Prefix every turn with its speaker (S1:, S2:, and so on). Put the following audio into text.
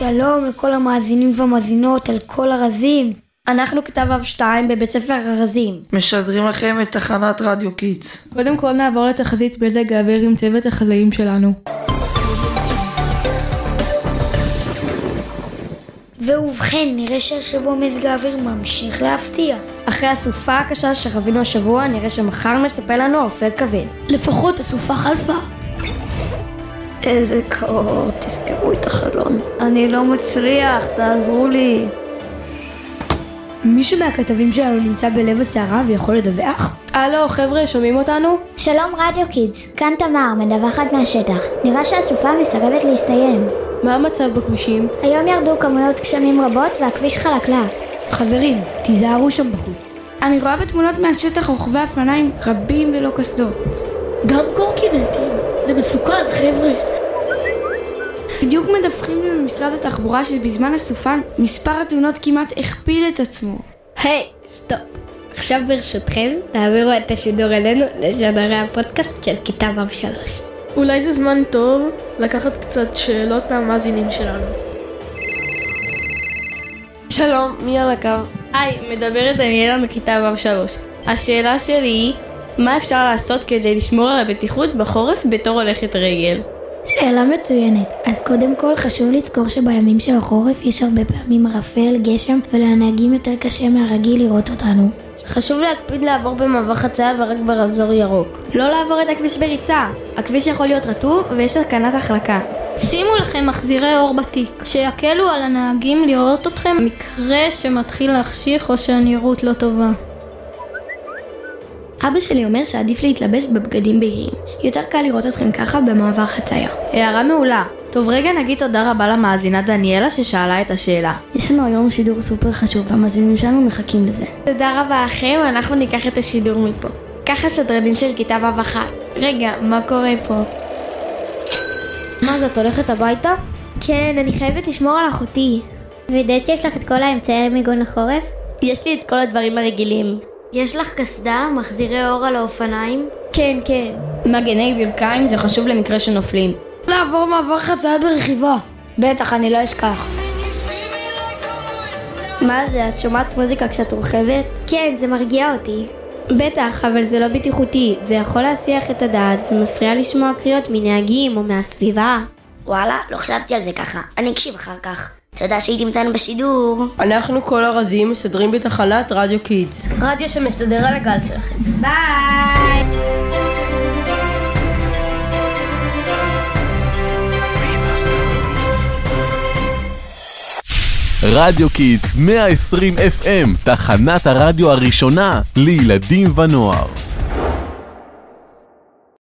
S1: שלום לכל המאזינים והמאזינות על כל הרזים. אנחנו כתב אב 2 בבית ספר הרזים.
S2: משדרים לכם את תחנת רדיו קיטס.
S3: קודם כל נעבור לתחזית מזג האוויר עם צוות החזאים שלנו.
S1: ובכן, נראה שהשבוע מזג האוויר ממשיך להפתיע. אחרי הסופה הקשה שחווינו השבוע, נראה שמחר מצפה לנו אופק כבד. לפחות הסופה חלפה.
S4: איזה קור, תסגרו את החלון. אני לא מצליח, תעזרו לי.
S1: מישהו מהכתבים שלנו נמצא בלב הסערה ויכול לדווח?
S3: הלו, חבר'ה, שומעים אותנו?
S5: שלום רדיו קידס, כאן תמר, מדווחת מהשטח. נראה שהסופה מסרבת להסתיים.
S3: מה המצב בכבישים?
S5: היום ירדו כמויות גשמים רבות והכביש חלקלק.
S1: חברים, תיזהרו שם בחוץ.
S6: אני רואה בתמונות מהשטח רוכבי אופניים רבים ללא קסדות.
S7: גם קורקינטים, זה מסוכן, חבר'ה.
S6: בדיוק מדווחים לי ממשרד התחבורה שבזמן הסופן מספר התאונות כמעט הכפיל את עצמו.
S8: היי, hey, סטופ. עכשיו ברשותכם, תעבירו את השידור אלינו לשדרי הפודקאסט של כיתה ו' 3.
S9: אולי זה זמן טוב לקחת קצת שאלות מהמאזינים שלנו.
S10: שלום, מי על הקו? היי, מדברת דניאלה מכיתה ו' 3. השאלה שלי היא, מה אפשר לעשות כדי לשמור על הבטיחות בחורף בתור הולכת רגל?
S11: שאלה מצוינת. אז קודם כל חשוב לזכור שבימים של החורף יש הרבה פעמים ערפל, גשם, ולנהגים יותר קשה מהרגיל לראות אותנו.
S12: חשוב להקפיד לעבור במעבר חצייה ורק ברמזור ירוק.
S13: לא לעבור את הכביש בריצה. הכביש יכול להיות רטוב ויש סכנת החלקה.
S14: שימו לכם מחזירי אור בתיק, שיקלו על הנהגים לראות אתכם מקרה שמתחיל להחשיך או שהנראות לא טובה.
S15: אבא שלי אומר שעדיף להתלבש בבגדים בהירים. יותר קל לראות אתכם ככה במעבר חצייה.
S3: הערה מעולה. טוב רגע נגיד תודה רבה למאזינה דניאלה ששאלה את השאלה.
S11: יש לנו היום שידור סופר חשוב והמאזינים שלנו מחכים לזה.
S16: תודה רבה לכם, אנחנו ניקח את השידור מפה. ככה שדרנים של כיתה ו' אחת. רגע, מה קורה פה? מה זה, את הולכת הביתה?
S17: כן, אני חייבת לשמור על אחותי.
S5: וידאת שיש לך את כל האמצעי מיגון לחורף?
S18: יש לי את כל הדברים הרגילים.
S17: יש לך קסדה, מחזירי אור על האופניים?
S16: כן, כן.
S18: מגני ברכיים זה חשוב למקרה שנופלים.
S16: לעבור מעבר חצייה ברכיבה.
S18: בטח, אני לא אשכח.
S17: מה זה, את שומעת מוזיקה כשאת רוכבת?
S5: כן, זה מרגיע אותי.
S12: בטח, אבל זה לא בטיחותי. זה יכול להסיח את הדעת ומפריע לשמוע קריאות מנהגים או מהסביבה.
S19: וואלה, לא חשבתי על זה ככה. אני אקשיב אחר כך. תודה שהייתם איתנו בשידור.
S2: אנחנו כל הרזים מסדרים בתחנת רדיו קידס.
S20: רדיו שמסדר על הגל שלכם.
S5: ביי!
S1: רדיו קידס 120 FM, תחנת הרדיו הראשונה לילדים ונוער.